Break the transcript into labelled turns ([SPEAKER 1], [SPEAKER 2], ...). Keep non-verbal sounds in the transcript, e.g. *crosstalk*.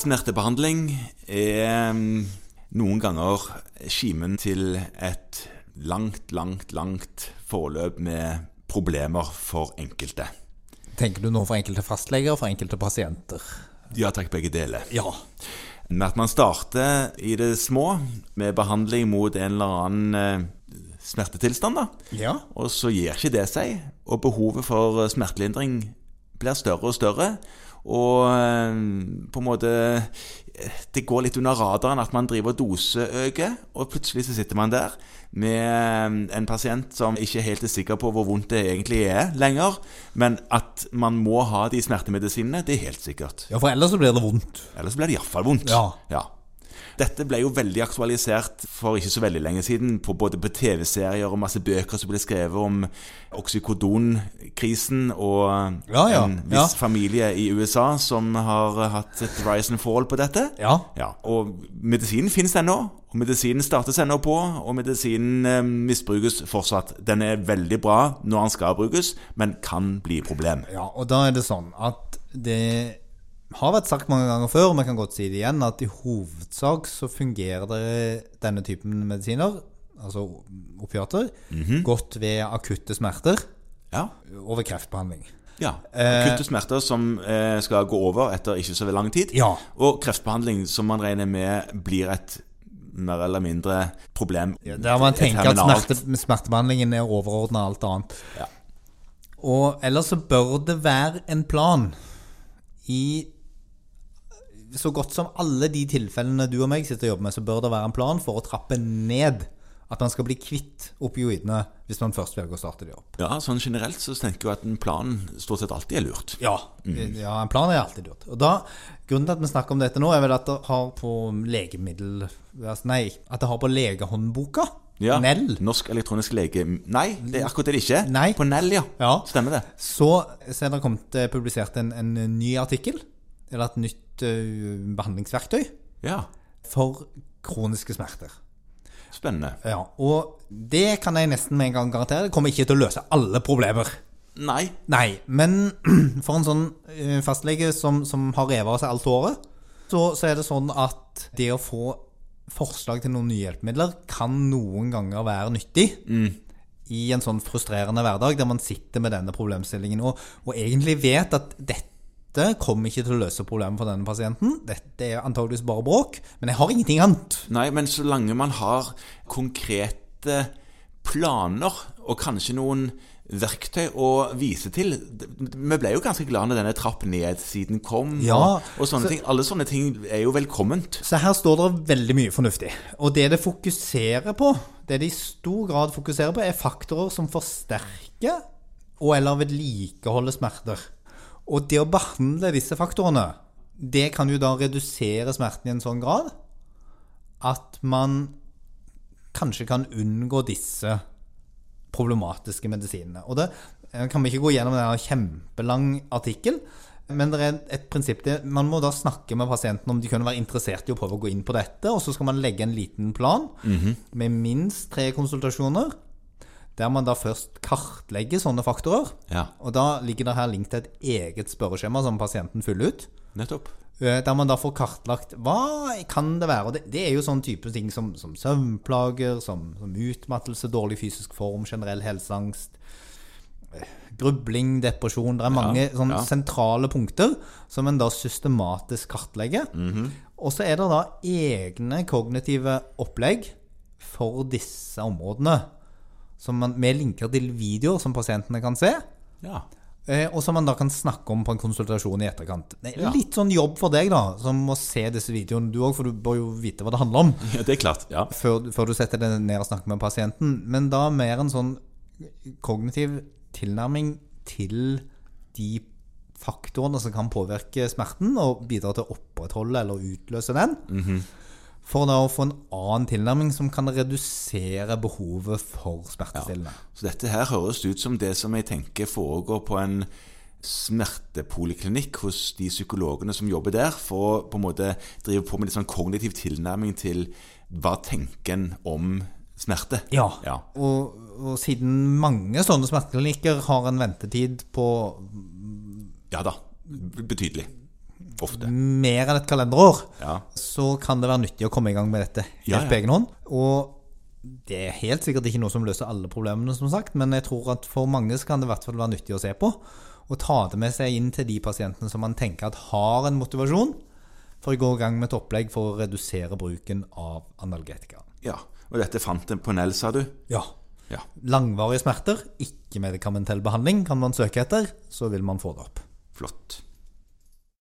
[SPEAKER 1] Smertebehandling er mm, noen ganger kimen til et langt, langt, langt forløp med problemer for enkelte.
[SPEAKER 2] Tenker du nå for enkelte fastleger og for enkelte pasienter?
[SPEAKER 1] Ja takk, begge deler.
[SPEAKER 2] Ja.
[SPEAKER 1] Men at man starter i det små med behandling mot en eller annen eh, smertetilstand, da.
[SPEAKER 2] Ja?
[SPEAKER 1] Og så gir ikke det seg, og behovet for eh, smertelindring blir større og større. Og eh, på en måte eh, Det går litt under radaren at man driver og doseøker, og plutselig så sitter man der med eh, en pasient som ikke helt er sikker på hvor vondt det egentlig er lenger, men at man må ha de smertemedisinene, det er helt sikkert.
[SPEAKER 2] ja, for ellers så blir det vondt.
[SPEAKER 1] Ellers ble det iallfall vondt.
[SPEAKER 2] Ja.
[SPEAKER 1] Dette ble jo veldig aktualisert for ikke så veldig lenge siden, på både på TV-serier og masse bøker som ble skrevet om oksykodonkrisen og
[SPEAKER 2] Ja, ja,
[SPEAKER 1] en
[SPEAKER 2] ja.
[SPEAKER 1] viss familie i USA som har hatt et rise and fall på dette.
[SPEAKER 2] Ja.
[SPEAKER 1] Ja, og medisinen finnes ennå, og medisinen startes ennå på, og medisinen eh, misbrukes fortsatt. Den er veldig bra når den skal brukes, men kan bli problem.
[SPEAKER 2] Ja, og da er det sånn at det har vært sagt mange ganger før, og vi kan godt si det igjen, at i hovedsak så fungerer det denne typen medisiner, altså opiater, godt ved akutte smerter
[SPEAKER 1] Ja,
[SPEAKER 2] og ved kreftbehandling.
[SPEAKER 1] Ja. Akutte smerter som eh, skal gå over etter ikke så lang tid.
[SPEAKER 2] Ja.
[SPEAKER 1] Og kreftbehandling som man regner med blir et mer eller mindre problem.
[SPEAKER 2] Der man
[SPEAKER 1] Et
[SPEAKER 2] tenker at
[SPEAKER 1] terminalt-
[SPEAKER 2] smerte, smertebehandlingen er overordna alt annet.
[SPEAKER 1] Ja.
[SPEAKER 2] Og ellers så bør det være en plan i så godt som alle de tilfellene du og meg sitter og jobber med, så bør det være en plan for å trappe ned at man skal bli kvitt opioidene hvis man først velger å starte de opp.
[SPEAKER 1] Ja, sånn generelt så tenker jeg at en plan stort sett alltid er lurt.
[SPEAKER 2] Ja. Mm. ja, en plan er alltid lurt. Og da, grunnen til at vi snakker om dette nå, er vel at det har på legemiddel... altså, Nei, at det har på legehåndboka,
[SPEAKER 1] Ja.
[SPEAKER 2] NEL,
[SPEAKER 1] Norsk elektronisk lege... Nei, det er akkurat det det ikke er.
[SPEAKER 2] Nei.
[SPEAKER 1] På NEL, ja.
[SPEAKER 2] Ja.
[SPEAKER 1] Stemmer det.
[SPEAKER 2] Så, så er det kommet eh, publisert en, en ny artikkel, eller et nytt eh, behandlingsverktøy,
[SPEAKER 1] Ja,
[SPEAKER 2] for kroniske smerter.
[SPEAKER 1] spennende.
[SPEAKER 2] Ja, og det kan jeg nesten med en gang garantere, det kommer ikke til å løse alle problemer.
[SPEAKER 1] Nei,
[SPEAKER 2] Nei, men *clears throat* for en sånn eh, fastlege som, som har revet av seg alt håret, så, så er det sånn at det å få forslag til noen nye hjelpemidler kan noen ganger være nyttig i en sånn frustrerende hverdag der man sitter med denne problemstillingen og, og egentlig vet at dette kommer ikke til å løse problemet for denne pasienten. Dette er antageligvis bare bråk, men jeg har ingenting annet.
[SPEAKER 1] Nei, men så lenge man har konkrete planer og kanskje noen verktøy å vise til Vi ble jo ganske glad når denne trapp ned-siden kom.
[SPEAKER 2] Ja,
[SPEAKER 1] og, og sånne ting. Alle sånne ting er jo velkomment.
[SPEAKER 2] Så her står det veldig mye fornuftig. Og det det fokuserer på, det det i stor grad fokuserer på, er faktorer som forsterker og eller vedlikeholder smerter. Og det å behandle disse faktorene, det kan jo da redusere smerten i en sånn grad at man kanskje kan unngå disse problematiske medisinene. Og det eh, kan vi ikke gå gjennom en kjempelang artikkel, men det er et prinsipp det, Man må da snakke med pasienten om de kunne være interessert i å prøve å gå inn på dette, og så skal man legge en liten plan med minst tre konsultasjoner, der man da først kartlegger sånne faktorer.
[SPEAKER 1] Ja,
[SPEAKER 2] Og da ligger det her link til et eget spørreskjema som pasienten fyller ut.
[SPEAKER 1] nettopp.
[SPEAKER 2] Eh, Der man da får kartlagt hva kan det være. Og det, det er jo sånn type ting som, som søvnplager, som, som utmattelse, dårlig fysisk form, generell helseangst, eh, grubling, depresjon. Det er mange sånne
[SPEAKER 1] ja.
[SPEAKER 2] sentrale punkter som en da systematisk kartlegger.
[SPEAKER 1] Mhm.
[SPEAKER 2] Og så er det da egne kognitive opplegg for disse områdene. Som man, med linker til videoer som pasientene kan se.
[SPEAKER 1] Ja.
[SPEAKER 2] Eh, Og som man da kan snakke om på en konsultasjon i etterkant. Det er
[SPEAKER 1] Ja.
[SPEAKER 2] Litt sånn jobb for deg, da, som må se disse videoene du òg, for du bør jo vite hva det handler om
[SPEAKER 1] ja, det er klart. Ja.
[SPEAKER 2] før, før du setter deg ned og snakker med pasienten. Men da mer en sånn kognitiv tilnærming til de faktorene som kan påvirke smerten, og bidra til å opprettholde eller utløse den. For da å få en annen tilnærming som kan redusere behovet for smertestillende.
[SPEAKER 1] Så dette her høres ut som det som jeg tenker foregår på en smertepoliklinikk hos de psykologene som jobber der, for å på en måte drive på med litt sånn kognitiv tilnærming til hva tenker en om smerte.
[SPEAKER 2] Ja.
[SPEAKER 1] ja.
[SPEAKER 2] Og, og siden mange sånne smerteklinikker har en ventetid på
[SPEAKER 1] Ja da, betydelig. Ofte.
[SPEAKER 2] mer enn et kalenderår,
[SPEAKER 1] Ja.
[SPEAKER 2] så kan det være nyttig å komme i gang med dette helt
[SPEAKER 1] Ja, ja.
[SPEAKER 2] på egen hånd. Og det er helt sikkert ikke noe som løser alle problemene, som sagt, men jeg tror at for mange så kan det i hvert fall være nyttig å se på. Og ta det med seg inn til de pasientene som man tenker at har en motivasjon for å gå i gang med et opplegg for å redusere bruken av analgetika.
[SPEAKER 1] ja. Og dette fant en på Nell, sa du?
[SPEAKER 2] Ja.
[SPEAKER 1] Ja.
[SPEAKER 2] Langvarige smerter, ikke medikamentell behandling, kan man søke etter, så vil man få det opp.
[SPEAKER 1] Flott.